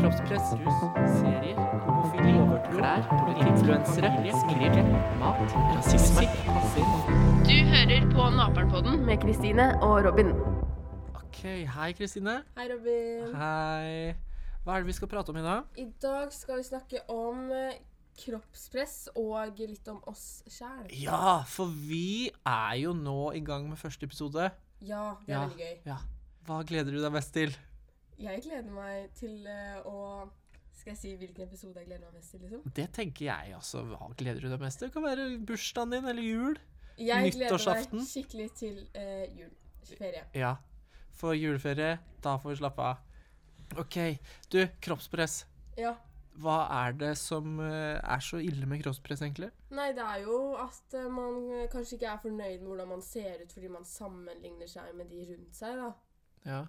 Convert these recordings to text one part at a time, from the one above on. kroppspress, rus, serier, homofili, klær, politikk, influensere, familie, mat, rasisme, passer. Du hører på Naperen-podden med Kristine og Robin. Ok, hei Kristine. Hei, Robin. Hei. Hva er det vi skal prate om i dag? I dag skal vi snakke om eh, kroppspress og litt om oss sjæl. Ja, for vi er jo nå i gang med første episode. Ja, det er Ja. veldig gøy. Ja. Hva gleder du deg mest til? Jeg gleder meg til eh, å Skal jeg si hvilken episode jeg gleder meg mest til, liksom? Det tenker jeg også. Hva gleder du deg mest til? Det kan være bursdagen din eller jul. Jeg gleder Nyttårsaften? meg skikkelig til eh, jul. Ferie. Ja. For juleferie, da får vi slappe av. OK. Du, kroppspress. Ja. Hva er det som eh, er så ille med kroppspress, egentlig? Nei, det er jo at eh, man eh, kanskje ikke er fornøyd med hvordan man ser ut fordi man sammenligner seg med de rundt seg, da. Ja.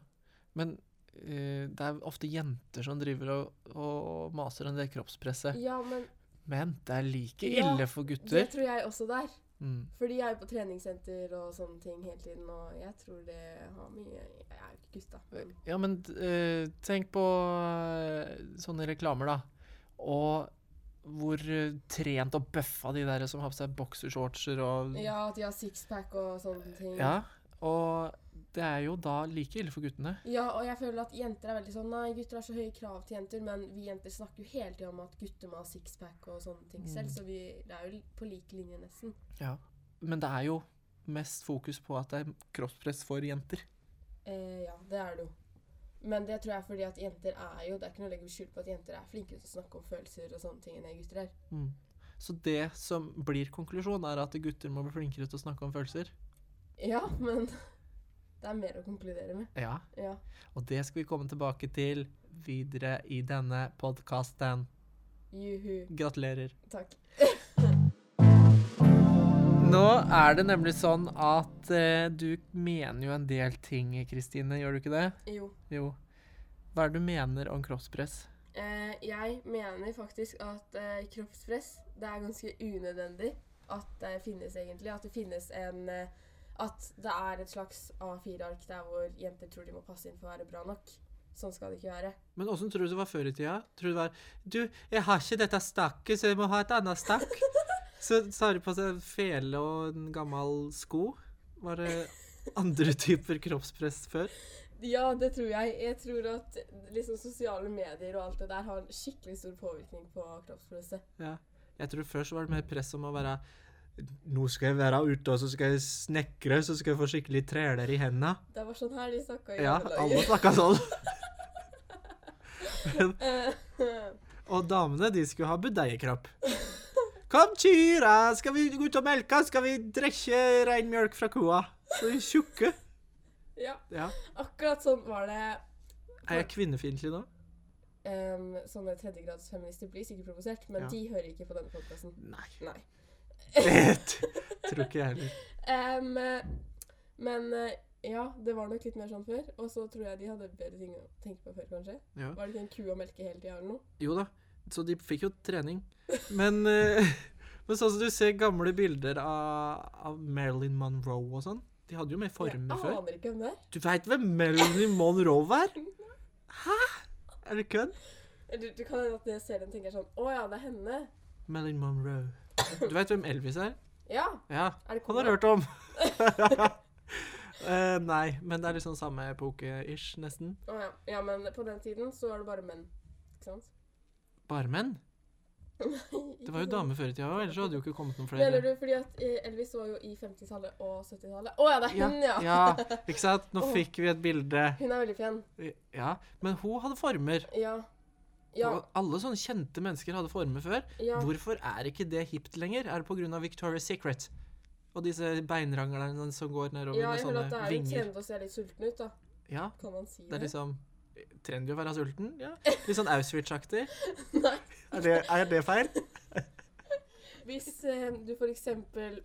Men eh, det er ofte jenter som driver og, og maser om det kroppspresset. Ja, men Men det er like Ja, ille for det gutter. tror jeg også det er. Mm. Fordi jeg er på treningssenter og sånne ting hele tiden, og jeg tror det har mye Jeg er jo ikke gutt, da. men- Ja, men eh, tenk på eh, sånne reklamer, da. Og hvor eh, trent og bøffa de der som har på seg boksershortser og Ja, at de har sixpack og sånne ting. Mm. Ja, Og det er jo da like ille for guttene. Ja, og jeg føler at jenter er veldig sånn Nei, gutter har så høye krav til jenter, men vi jenter snakker jo hele tida om at gutter må ha sixpack og sånne Mm. ting selv, så vi det er jo på lik linje, nesten. Ja. Men det er jo mest fokus på at det er kroppspress for jenter. Eh, ja, det er det jo. Men det tror jeg er fordi at jenter er jo Det er ikke noe å legge skyld på at jenter er flinkere til å snakke om følelser og sånne ting enn det gutter er. Så det som blir konklusjonen, er at gutter må bli flinkere til å snakke om følelser. Ja, men det er mer å konkludere med. Ja. Ja. Og det skal vi komme tilbake til videre i denne podkasten. Juhu. Gratulerer. Takk. Nå er det nemlig sånn at eh, du mener jo en del ting, Kristine. Gjør du ikke det? Jo. Jo. Hva er det du mener om kroppspress? Eh, jeg mener faktisk at eh, kroppspress det er ganske unødvendig at det finnes, egentlig. At det finnes en eh, At det er et slags A4-ark der hvor jenter tror de må passe inn for å være bra nok. Sånn skal det ikke være. Men åssen tror du det var før i tida? Tror du det var Du, jeg har ikke dette stakket, så jeg må ha et annet stakk. Så tar de på seg en fele og en gammel sko. Var det andre typer kroppspress før? Ja, det tror jeg. Jeg tror at liksom sosiale medier og alt det der har en skikkelig stor påvirkning på kroppspresset. Ja. Jeg tror før så var det mer press om å være Nå skal jeg være ute, og så skal jeg snekre, så skal jeg få skikkelig træler i henda. Det var sånn her de snakka i Ja, gamle alle snakka sånn. Men, dager. og damene, de skulle ha budeiekrapp. Kom, kyra, skal vi gå ut og melke? Skal vi drikke rein mjølk fra kua? Så de tjukke. ja, Ja. akkurat sånn var det. Er jeg kvinnefiendtlig nå? Um, sånne tredjegradsfeminister blir sikkert provosert, men Ja. de hører ikke på denne podkasten. Nei. Nei. Tror ikke jeg heller. Em, eh, men eh, ja, det var nok litt mer sånn før. Og så tror jeg de hadde bedre ting å tenke på før, kanskje. Ja. Var det ikke en ku å melke hele tida eller noe? Jo da, så de fikk jo trening. Men, eh, men sånn som du ser gamle bilder av, av Marilyn Monroe og sånn. De hadde jo mer former jeg før. aner ikke hvem det er. Du veit hvem Marilyn Monroe er? Hæ? Er det kødd? Eller det kan hende at jeg ser den og tenker sånn Å ja, det er henne. Marilyn Monroe. Du veit hvem Elvis er? Ja. Ja, Er det han har kona? hørt om. Eh, nei, men det er liksom samme epoke-ish, nesten. Å ja. ja, men på den tiden så var det bare menn. Ikke sant? Bare menn. Det var jo damer før i tida, ellers hadde jo ikke kommet noen flere. Mener du fordi at eh, Elvis var jo i 50-tallet og 70-tallet? Å ja, det er Ja, hun, ja. ja, ikke sant? Nå Åh. fikk vi et bilde. Hun er veldig pen. Ja, men hun hadde former. Ja. Ja. Og alle sånne kjente mennesker hadde former før. ja. Hvorfor er ikke det hipt lenger? Er det pga. Victoria's Secret? Og disse beinranglerne som går nedover Ja, med jeg føler at det sånne er jo vinger. trend å se litt sulten ut, da. Ja, Kan man si det det? er liksom Trendy å være sulten? Ja. Litt sånn Auschwitz-aktig. Nei. Er, det- er det feil? Hvis eh, du for eksempel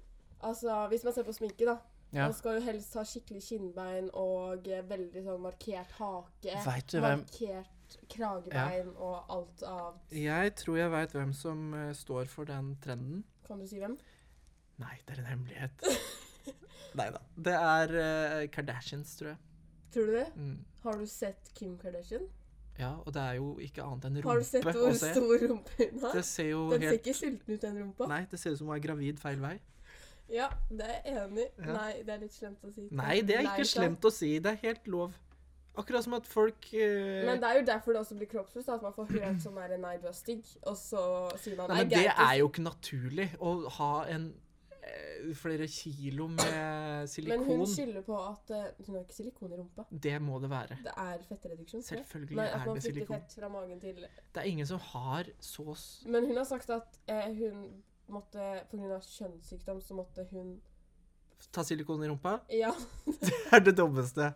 Altså, hvis man ser på sminke, da. Ja. Man skal jo helst ha skikkelig kinnbein og eh, veldig sånn markert hake. Vet du hvem- Markert kragebein og alt av Jeg tror jeg veit hvem som eh, står for den trenden. Kan du si hvem? Nei, det er en hemmelighet. Nei da. Det er eh, Kardashians, tror jeg. Tror du det? Mm. Har du sett Kim Kardashian? Ja, og det er jo ikke annet enn Har du sett rumpe å hvor se. stor rumpe hun har? Det ser jo Den ser helt ikke sulten ut, den rumpa. Nei, det ser ut som hun er gravid feil vei. Ja, det er jeg enig. i. Ja. Nei, det er litt slemt å si. Nei, det er Nei, ikke sant. slemt å si. Det er helt lov. Akkurat som at folk eh, Men det er jo derfor det også blir kroppspress, at man får hørt sånn der nei, du er stygg, og så sier man Nei, nei, men det er jo ikke naturlig å ha en eh, flere kilo med Men hun silikon. skylder på at eh, Hun har ikke silikon i rumpa. Det må det være. Det er fettreduksjon. tror jeg. Selvfølgelig Nei, at er man det flytter silikon. fett fra magen til Det er ingen som har så s- Men hun har sagt at eh, hun måtte Pga. kjønnssykdom så måtte hun Ta silikon i rumpa. Ja, Det er det dummeste.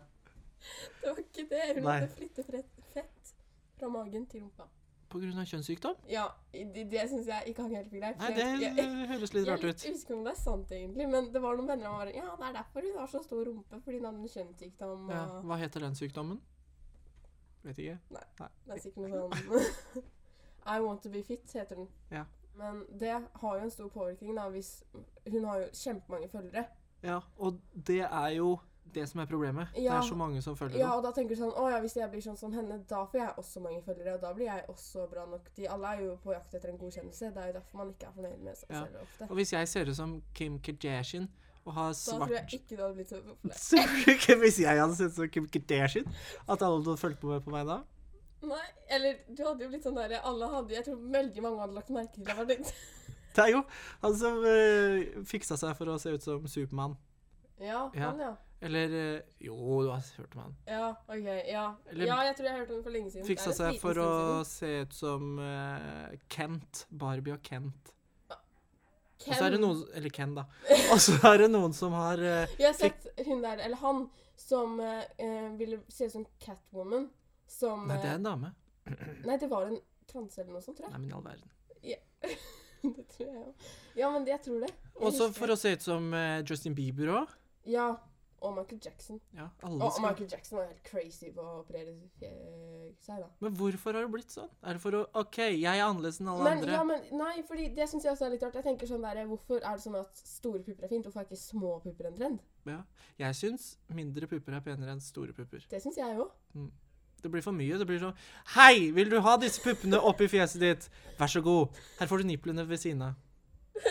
det var ikke det. Hun Nei. måtte flytte fre- fett fra magen til rumpa. På grunn av kjønnssykdom? Ja, det, det syns jeg ikke hang helt greit. Nei, for det jeg- jeg- høres litt Jeg rart ut. er litt usikker om det er sant, egentlig, men det var noen venner av meg bare, Ja, det er derfor hun har så stor rumpe, fordi hun hadde en kjønnssykdom. Ja. og Hva heter den sykdommen? Vet ikke. Det er sikkert noe sånn I want to be fit, heter den. Ja. Men det har jo en stor påvirkning, da, hvis Hun har jo kjempemange følgere. Ja, og det er jo det som er problemet. Det Ja. er så mange som følger Ja, opp. og da tenker du sånn Å ja, hvis jeg blir sånn som henne, da får jeg også mange følgere, og da blir jeg også bra nok. De alle er jo på jakt etter en godkjennelse. Det er jo derfor man ikke er fornøyd med seg Ja. selv ofte. Og hvis jeg ser ut som Kim Kardashian og har Da tror jeg svart ikke du hadde blitt så populær. Så ikke Hvis jeg hadde sett ut som Kim Kardashian, at alle hadde fulgt med på meg da? Nei, eller du hadde jo blitt sånn derre Alle hadde Jeg tror veldig mange hadde lagt merke til deg. var det- Det er jo han som eh, fiksa seg for å se ut som Supermann. Ja, Ja. han, ja. Eller eh, Jo, du har hørt om han. Ja, ok, ja. Eller- ja, jeg tror jeg hørte om det for lenge siden. Det er Fiksa en seg liten for stund å siden. se ut som eh, Kent. Barbie og Kent. Og Ken, så er det noen Eller Ken, da. Og så er det noen som har eh, Vi har sett hun der, eller han, som eh, eh, ville se ut som Catwoman. Som Nei, det er eh, en dame. Nei, det var en transe eller noe sånt, tror jeg. Nei, men i all verden. det tror jeg òg. Ja, men jeg tror det. Jeg Også husker for å se ut som eh, Justin Bieber òg. det. Ja. Og Michael Jackson. Ja, Og alle og skal. Michael Jackson var helt crazy på å operere eh, seg, da. Men hvorfor har det blitt sånn? Er det for å OK, jeg er annerledes enn alle Men, andre. ja, men nei, fordi det syns jeg også er litt rart. Jeg tenker sånn der, Hvorfor er det sånn at store pupper er fint? Hvorfor er ikke små pupper en trend? Jeg syns mindre pupper er penere enn store pupper. Det syns jeg òg. Det blir for mye. Det blir sånn Hei, vil du ha disse puppene oppi fjeset ditt? Vær så god. Her får du niplene ved siden av.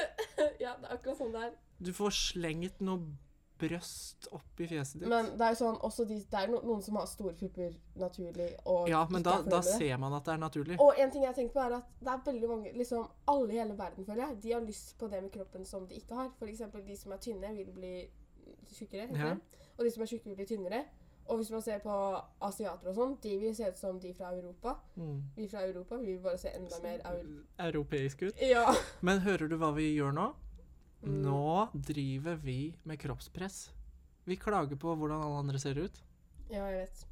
ja, det er akkurat sånn det er. Du får slengt noe brøst oppi fjeset ditt. Men det er jo sånn, også de, det er no, noen som har store pupper naturlig. Og ja, men ikke da, er fornøyd da med det. ser man at det er naturlig. Og en ting jeg har tenkt på er at det er veldig mange, liksom alle i hele verden føler jeg, de har lyst på det med kroppen som de ikke har. For eksempel de som er tynne vil bli tjukkere, heter Ja. det. og de som er tjukke vil bli tynnere. Og hvis man ser på asiater og sånn, de vil se ut som de fra Europa. Mm. Vi fra Europa vi vil bare se enda mer au- Europeisk ut. Ja. Men hører du hva vi gjør nå? Mm. Nå driver vi med kroppspress. Vi klager på hvordan alle andre ser ut. Ja, jeg vet.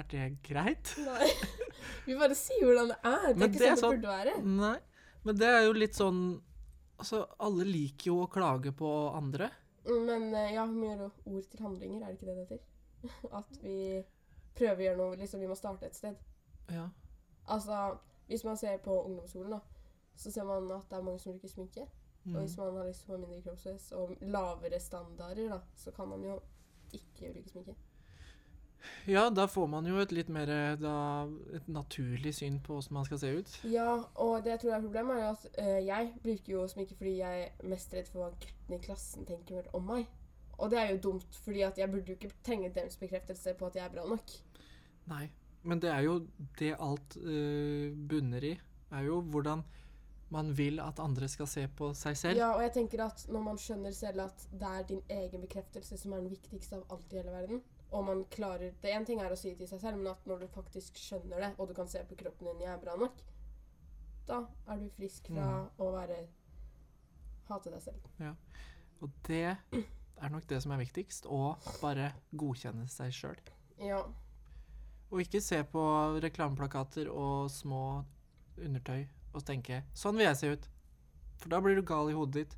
Er det greit? Nei. Vi bare sier hvordan det er. Det Men er ikke det er sånn det sånn- burde være. Nei. Men det er jo litt sånn Altså, alle liker jo å klage på andre. Men eh, ja, vi må gjøre ord til handlinger, er det ikke det det heter? At vi prøver å gjøre noe, liksom vi må starte et sted. Ja. Altså, hvis man ser på ungdomsskolen da, så ser man at det er mange som bruker sminke. Mm. Og hvis man har lyst på mindre kroppspress og lavere standarder da, så kan man jo ikke bruke sminke. Ja, da får man jo et litt mer eh, da, et naturlig syn på hvordan man skal se ut. Ja, og det jeg tror er problemet er jo at eh, jeg bruker jo sminke fordi jeg er mest redd for hva guttene i klassen tenker om meg. Og det er jo dumt, fordi at jeg burde jo ikke trenge deres bekreftelse på at jeg er bra nok. Nei. Men det er jo det alt eh, bunner i. Er jo hvordan man vil at andre skal se på seg selv. Ja, og jeg tenker at når man skjønner selv at det er din egen bekreftelse som er den viktigste av alt i hele verden, og man klarer Det en ting er å si det til seg selv, men at når du faktisk skjønner det, og du kan se på kroppen din 'jeg er bra nok', da er du frisk fra Mm. å være hate deg selv. Og det er nok det som er viktigst. Å bare godkjenne seg sjøl. Ja. Og ikke se på reklameplakater og små undertøy og tenke 'sånn vil jeg se ut'. For da blir du gal i hodet ditt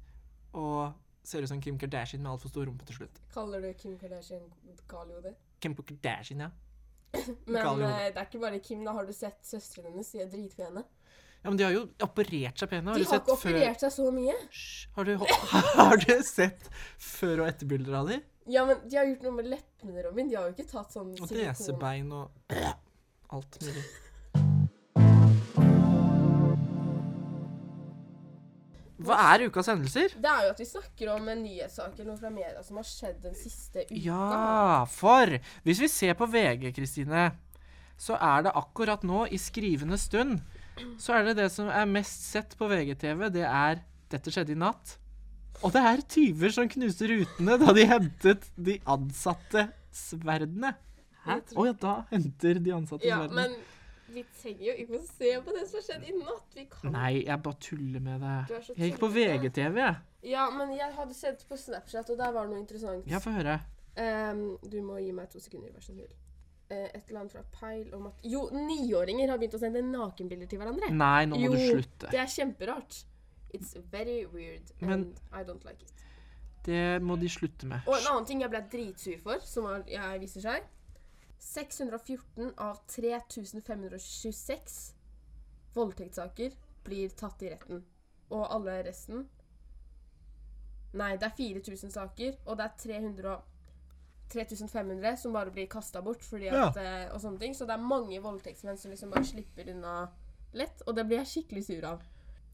og ser ut som Kim Kardashian med altfor stor rumpe til slutt. Kaller du Kim Kardashian gal i hodet? Kim Kardashian, ja. Men Gal i hodet. eh, det er ikke bare Kim. da Har du sett søstrene hennes? De er dritpene. Ja, men de har jo operert seg pene. Har De du har sett ikke før operert seg så mye. Hysj, har, du, har du sett før- og etterbilder av dem? Ja, men de har gjort noe med leppene, Robin. De har jo ikke tatt sånn Og silikon- nesebein og Alt mulig. Hva er ukas hendelser? Det er jo at vi snakker om en nyhetssak eller noe fra media som har skjedd den siste uka. Ja, for hvis vi ser på VG, Kristine, så er det akkurat nå, i skrivende stund, så er det det som er mest sett på VGTV, det er 'Dette skjedde i natt'. Og det er tyver som knuser rutene da de hentet de ansatte sverdene. Hæ? Å ja, da henter de ansatte Ja, sverdene. men vi trenger jo ikke å se på det som har skjedd i natt. Vi kan Nei, jeg bare tuller med Du det. er så Jeg gikk på tullete. VGTV, jeg. Ja, men jeg hadde sett på Snapchat, og der var det noe interessant. Ja, få høre. Ehm, du må gi meg to sekunder, vær så snill. Eh, et eller annet fra Peil om at Jo, niåringer har begynt å sende nakenbilder til hverandre. Nei, nå må jo, du slutte. det er kjemperart. It's very weird, and I don't like it. Det må de slutte med. Og en annen ting jeg ble dritsur for, som er, jeg viser seg 614 av 3526 voldtektssaker blir tatt i retten. Og alle resten Nei, det er 4000 saker, og det er 300 og 3500 som bare blir kasta bort fordi Ja. at, eh, og sånne ting. Så det er mange voldtektsmenn som liksom bare slipper unna lett, og det blir jeg skikkelig sur av.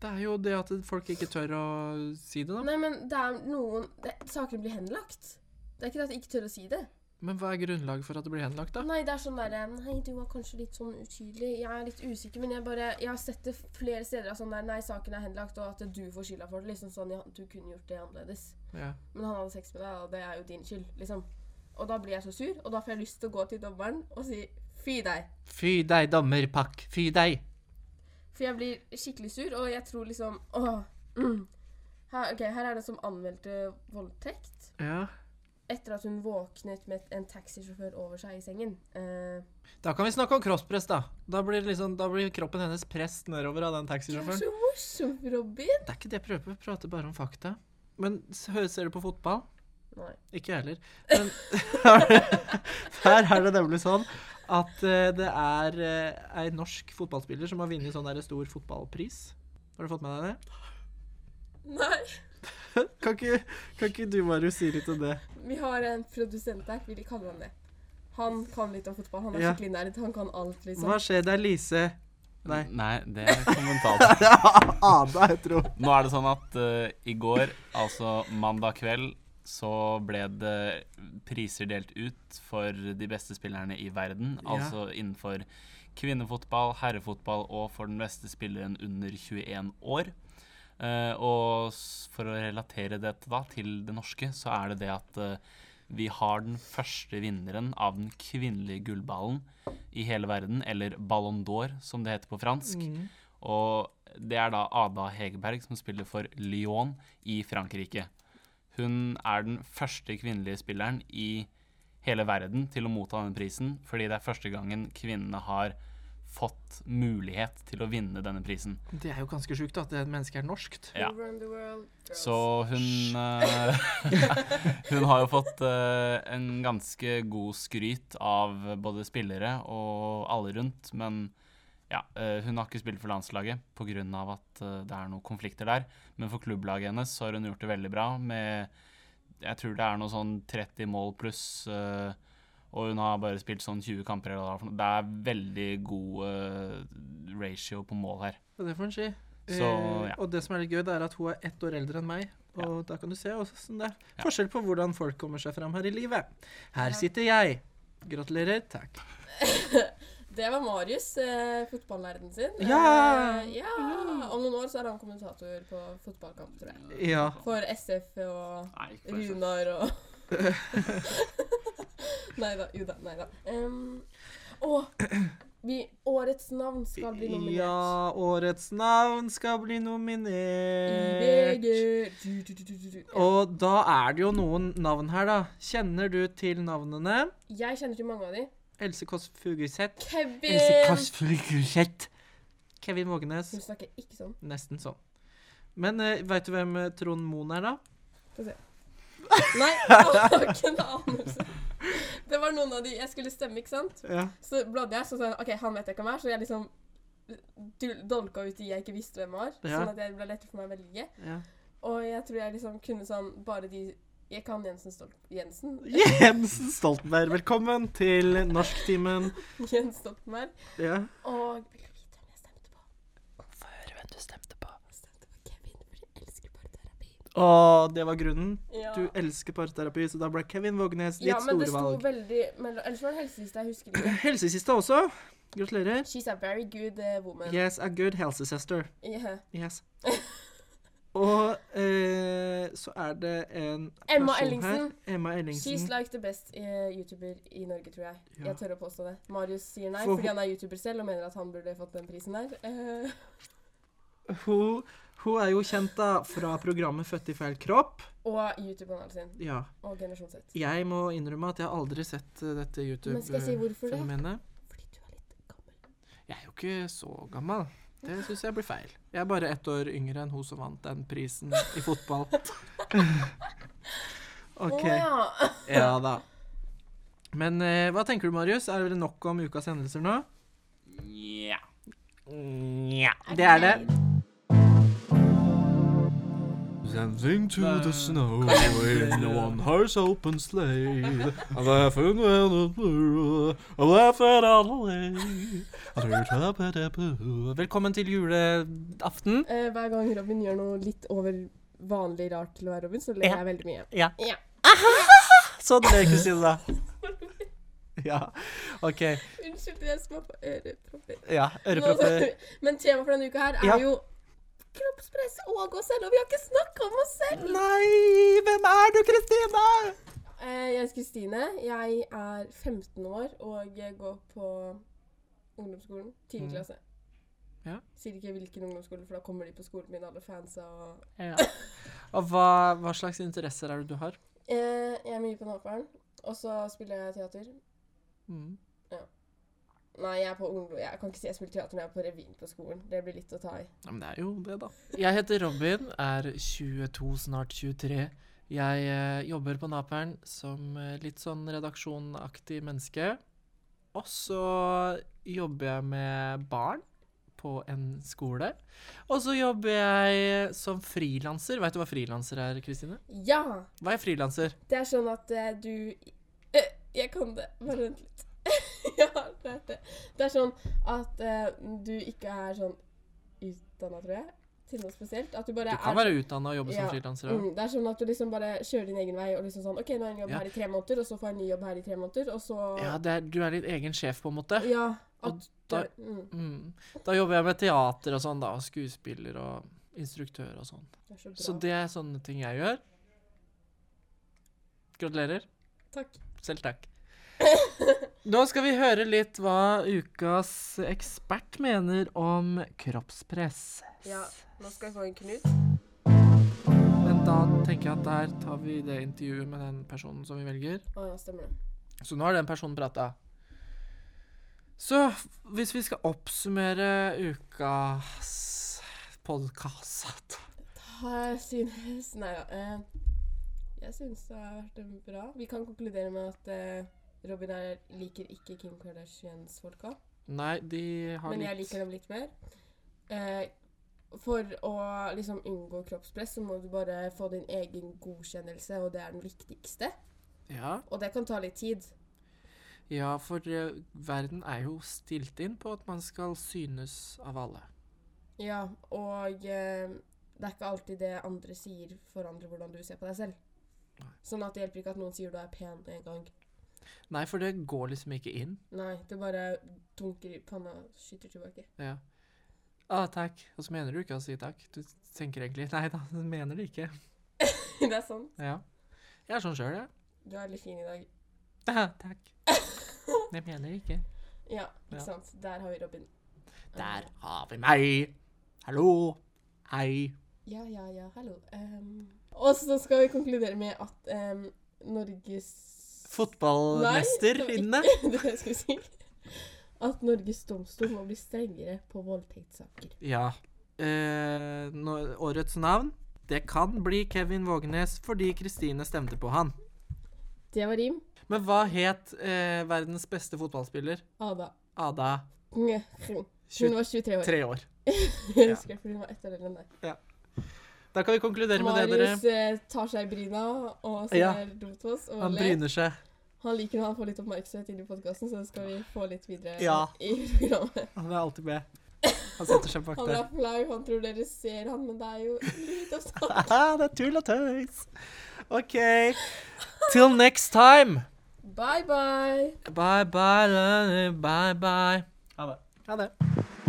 Det er jo det at folk ikke tør å si det, da. Nei, men det er noen det, Sakene blir henlagt. Det er ikke det at jeg ikke tør å si det. Men hva er grunnlaget for at det blir henlagt, da? Nei, det er sånn derre Nei, du var kanskje litt sånn utydelig. Jeg er litt usikker, men jeg bare Jeg har sett det flere steder av sånn der Nei, saken er henlagt, og at du får skylda for det. Liksom sånn ja, du kunne gjort det annerledes. Ja. Men han hadde sex med deg, og det er jo din skyld, liksom. Og da blir jeg så sur, og da får jeg lyst til å gå til dommeren og si fy deg. Fy deg, dommerpakk. Fy deg. For jeg blir skikkelig sur, og jeg tror liksom åh, mm. her, OK, her er det som anmeldte voldtekt. Ja. Etter at hun våknet med en taxisjåfør over seg i sengen. Eh, Da kan vi snakke om crosspress, da. Da blir, liksom, da blir kroppen hennes press nedover av den du er taxisjåføren. så morsom, Robin. Det er ikke det jeg prøver på, jeg prater bare om fakta. Men s- hø- ser du på fotball? Nei. Ikke jeg heller. Men her er det nemlig sånn at eh, det er eh, ei norsk fotballspiller som har vunnet sånn der stor fotballpris. Har du fått med deg det? Nei. Kan ikke, kan ikke du, Marius, si litt om det? Vi har en produsent der, vil de kalle han det. Han kan litt om fotball. Han er Ja. skikkelig nerd. Han kan alt, liksom. Hva skjer der, Lise? Nei. det er kommentator. Ada, jeg tror. Nå er det sånn at eh, i går, altså mandag kveld, så ble det priser delt ut for de beste spillerne i verden. Ja. Altså innenfor kvinnefotball, herrefotball og for den beste spilleren under 21 år. Eh, og s- for å relatere dette da til det norske, så er det det at eh, vi har den første vinneren av den kvinnelige gullballen i hele verden, eller Ballon d'Or, som det heter på fransk. Mm. Og det er da Ada Hegerberg som spiller for Lyon i Frankrike. Hun er den første kvinnelige spilleren i hele verden til å motta denne prisen, fordi det er første gangen kvinnene har fått mulighet til å vinne denne prisen. Det er jo ganske sjukt at det mennesket er norskt. Ja. Over in the world, girls. Så hun eh, Hun har jo fått eh, en ganske god skryt av både spillere og alle rundt, men ja, eh, hun har ikke spilt for landslaget pga. at eh, det er noen konflikter der. Men for klubblaget hennes så har hun gjort det veldig bra med Jeg tror det er noe sånn 30 mål pluss. eh, og hun har bare spilt sånn 20 kamper. eller hva det er for noe. Det er veldig god eh, ratio på mål her. Ja, det får en si. Så, ja. eh, og det som er litt gøy, det er at hun er ett år eldre enn meg. Og da kan du se også sånn det er forskjell på hvordan folk kommer seg fram her i livet. Her sitter jeg. Gratulerer. Takk. Det var Marius, eh, fotballerden sin. Ja! Eh, ja! Om noen år så er han kommentator på fotballkamp, tror jeg. Ja. For SF og Nei, ikke for SF. Runar og Nei da. Jo da. Nei da. Um, og vi, årets navn skal bli nominert. Ja, årets navn skal bli I nominert. VG. Du, du, du, du, du, du. Og da er det jo noen navn her, da. Kjenner du til navnene? Jeg kjenner til mange av de. Else Kåss Furuseth. Kevin! Furuseth. Kevin Vågenes. Hun snakker ikke sånn. Nesten sånn. Men uh, veit du hvem eh, Trond Moen er, da? Få se. Nei, jeg har ikke en anelse. Det var noen av de jeg skulle stemme, ikke sant? Ja. Så bladde jeg, så sa jeg OK, han vet jeg ikke hvem er, så jeg liksom dul- dolka ut de jeg ikke visste hvem var. Ja. Sånn at det ble lettere for meg å velge. Og jeg tror jeg liksom kunne sånn bare de Jeg kan Jensen Stol... Jensen? Jensen Stoltenberg, velkommen til norsktimen. Jens Stoltenberg. Ja. Og vil du vite hvem jeg stemte på? Få høre hvem du stemte på. Jeg stemte på Kevin, for jeg elsker parterapi. Å, det var grunnen. Ja. Du elsker parterapi, så da ble Kevin Vågnes ditt ja, men det store sto valg. veldig men, Ellers var det helsesista jeg husker ikke. Helsesista også. Gratulerer. She's a very good eh, woman. Yes, a good helsesøster. Yeah. Yes. Og eh, så er det en Emma person Ellingsen. Her. Emma She's Ellingsen. like the best eh, YouTuber i Norge, tror jeg. Ja. Jeg tør å påstå det. Marius sier nei For fordi hun- han er YouTuber selv og mener at han burde fått den prisen der. Eh, Hun, hun er jo kjent da fra programmet Født i feil kropp. og YouTube-kanalen sin. Ja. Og Generasjon Z. Jeg må innrømme at jeg har aldri sett eh, dette Men skal jeg si hvorfor det? YouTube-fenomenet. Fordi du er litt gammel. Jeg er jo ikke så gammel. Det syns jeg blir feil. Jeg er bare ett år yngre enn hun som vant den prisen i fotball. Å OK. ja. Ja da. Men eh, hva tenker du, Marius? Er det nok om ukas hendelser nå? Nja. Nja. Det er det. Dancing to the snow in one horse open sleigh. I'm laughing at the blue. I'm laughing all the way. I'm laughing at the blue. Velkommen til julaften. Eh, hver gang Robin gjør noe litt over vanlig rart til å være Robin, så ler Ja. jeg veldig mye. Ja. Ja. Sånn ble Kristine, da. Ja. OK. Unnskyld til dere som har på ørepropper. Ja. Nå- Ørepropper. Men temaet for denne uka her er Ja. jo kroppspress og oss selv, og vi har ikke snakket om oss selv! Nei! Hvem er du, Kristine? Eh, Jeg heter Kristine. Jeg er 15 år og jeg går på ungdomsskolen. 10. klasse. Ja. Sier ikke hvilken ungdomsskole, for da kommer de på skolen min, alle fansa og Og hva, hva slags interesser er det du har? eh, Jeg er mye på Naperen, og så spiller jeg teater. Mm. Nei, jeg er på ungdom... Jeg kan ikke si jeg spiller teater når jeg er på revyen på skolen. Det blir litt å ta i. Ja, men det er jo det, da. Jeg heter Robin, er 22, snart 23. Jeg eh, jobber på Naperen som eh, litt sånn redaksjonaktig menneske. Og så jobber jeg med barn på en skole. Og så jobber jeg som frilanser. Veit du hva frilanser er, Kristine? Ja! Hva er frilanser? Det er sånn at eh, du Eh, Jeg kan det. Bare vent litt. jeg har lært det. Det er sånn at eh, du ikke er sånn utdanna, tror jeg, til noe spesielt. At du bare Du kan er være utdanna og jobbe Ja, som frilanser òg. Mm, det er sånn at du liksom bare kjører din egen vei og liksom sånn OK, nå har jeg en jobb Ja. her i tre måneder, og så får jeg en ny jobb her i tre måneder, og så Ja, det er, du er litt egen sjef, på en måte. Mm. ja Og at da- det- mm, Mm. Da jobber jeg med teater og sånn, da. Og skuespiller og instruktør og sånn. det er så bra. Så det er sånne ting jeg gjør. Gratulerer. Takk. Selv takk. Nå skal vi høre litt hva ukas ekspert mener om kroppspress. Ja, nå skal jeg få en knut. Men da tenker jeg at der tar vi det intervjuet med den personen som vi velger. Å ja, stemmer det. Så nå har den personen prata. Så hvis vi skal oppsummere ukas podkast Jeg synes Nei da. Eh, jeg synes det har vært en bra. Vi kan konkludere med at eh, Robin her liker ikke Kim Kardashians-folka, Nei, de har men jeg litt- liker dem litt mer. Eh, for å liksom unngå kroppspress, så må du bare få din egen godkjennelse, og det er den viktigste. Ja. Og det kan ta litt tid. Ja, for eh, verden er jo stilt inn på at man skal synes av alle. Ja, og eh, det er ikke alltid det andre sier, forandrer hvordan du ser på deg selv. Sånn at det hjelper ikke at noen sier du er pen en gang. Nei, for det går liksom ikke inn. Nei, det bare dunker i panna, skyter tilbake. Ja. Ah, takk. Og så mener du ikke å si takk. Du tenker egentlig Nei da, du mener det ikke. det er sant. Ja. Jeg er sånn sjøl, jeg. Du er litt fin i dag. Ja. takk. Jeg mener det ikke. Ja, ikke Ja. sant. Der har vi Robin. Eh, Der har vi meg. Hallo. Hei. Ja, ja, ja, hallo. Ehm, og så skal vi konkludere med at ehm, Norges Fotballmester inne. Nei, det var ikke det jeg skulle si. At Norges domstol må bli strengere på voldtektssaker. Ja. Eh, nå, årets navn, det kan bli Kevin Vågenes fordi Kristine stemte på han. Det var rim. Men hva het eh, verdens beste fotballspiller? Ada. Ada, Hun var 23 år. 23 år. Jeg husker det, for hun var ett år eldre enn deg. Da kan vi konkludere med det, dere. Marius eh, tar seg i bryna og ser Ja. dumt på oss og Han ler. bryner seg. Han liker når han får litt oppmerksomhet inni podkasten, så det skal vi få litt videre Ja. i programmet. Han er alltid med. Han setter seg bak Han der. er flau, han tror dere ser han, men det er jo litt opptatt. Ah, det er tull og tøys. OK. Till next time. Bye, bye. Bye bye, Lenny. Bye bye. Ha det.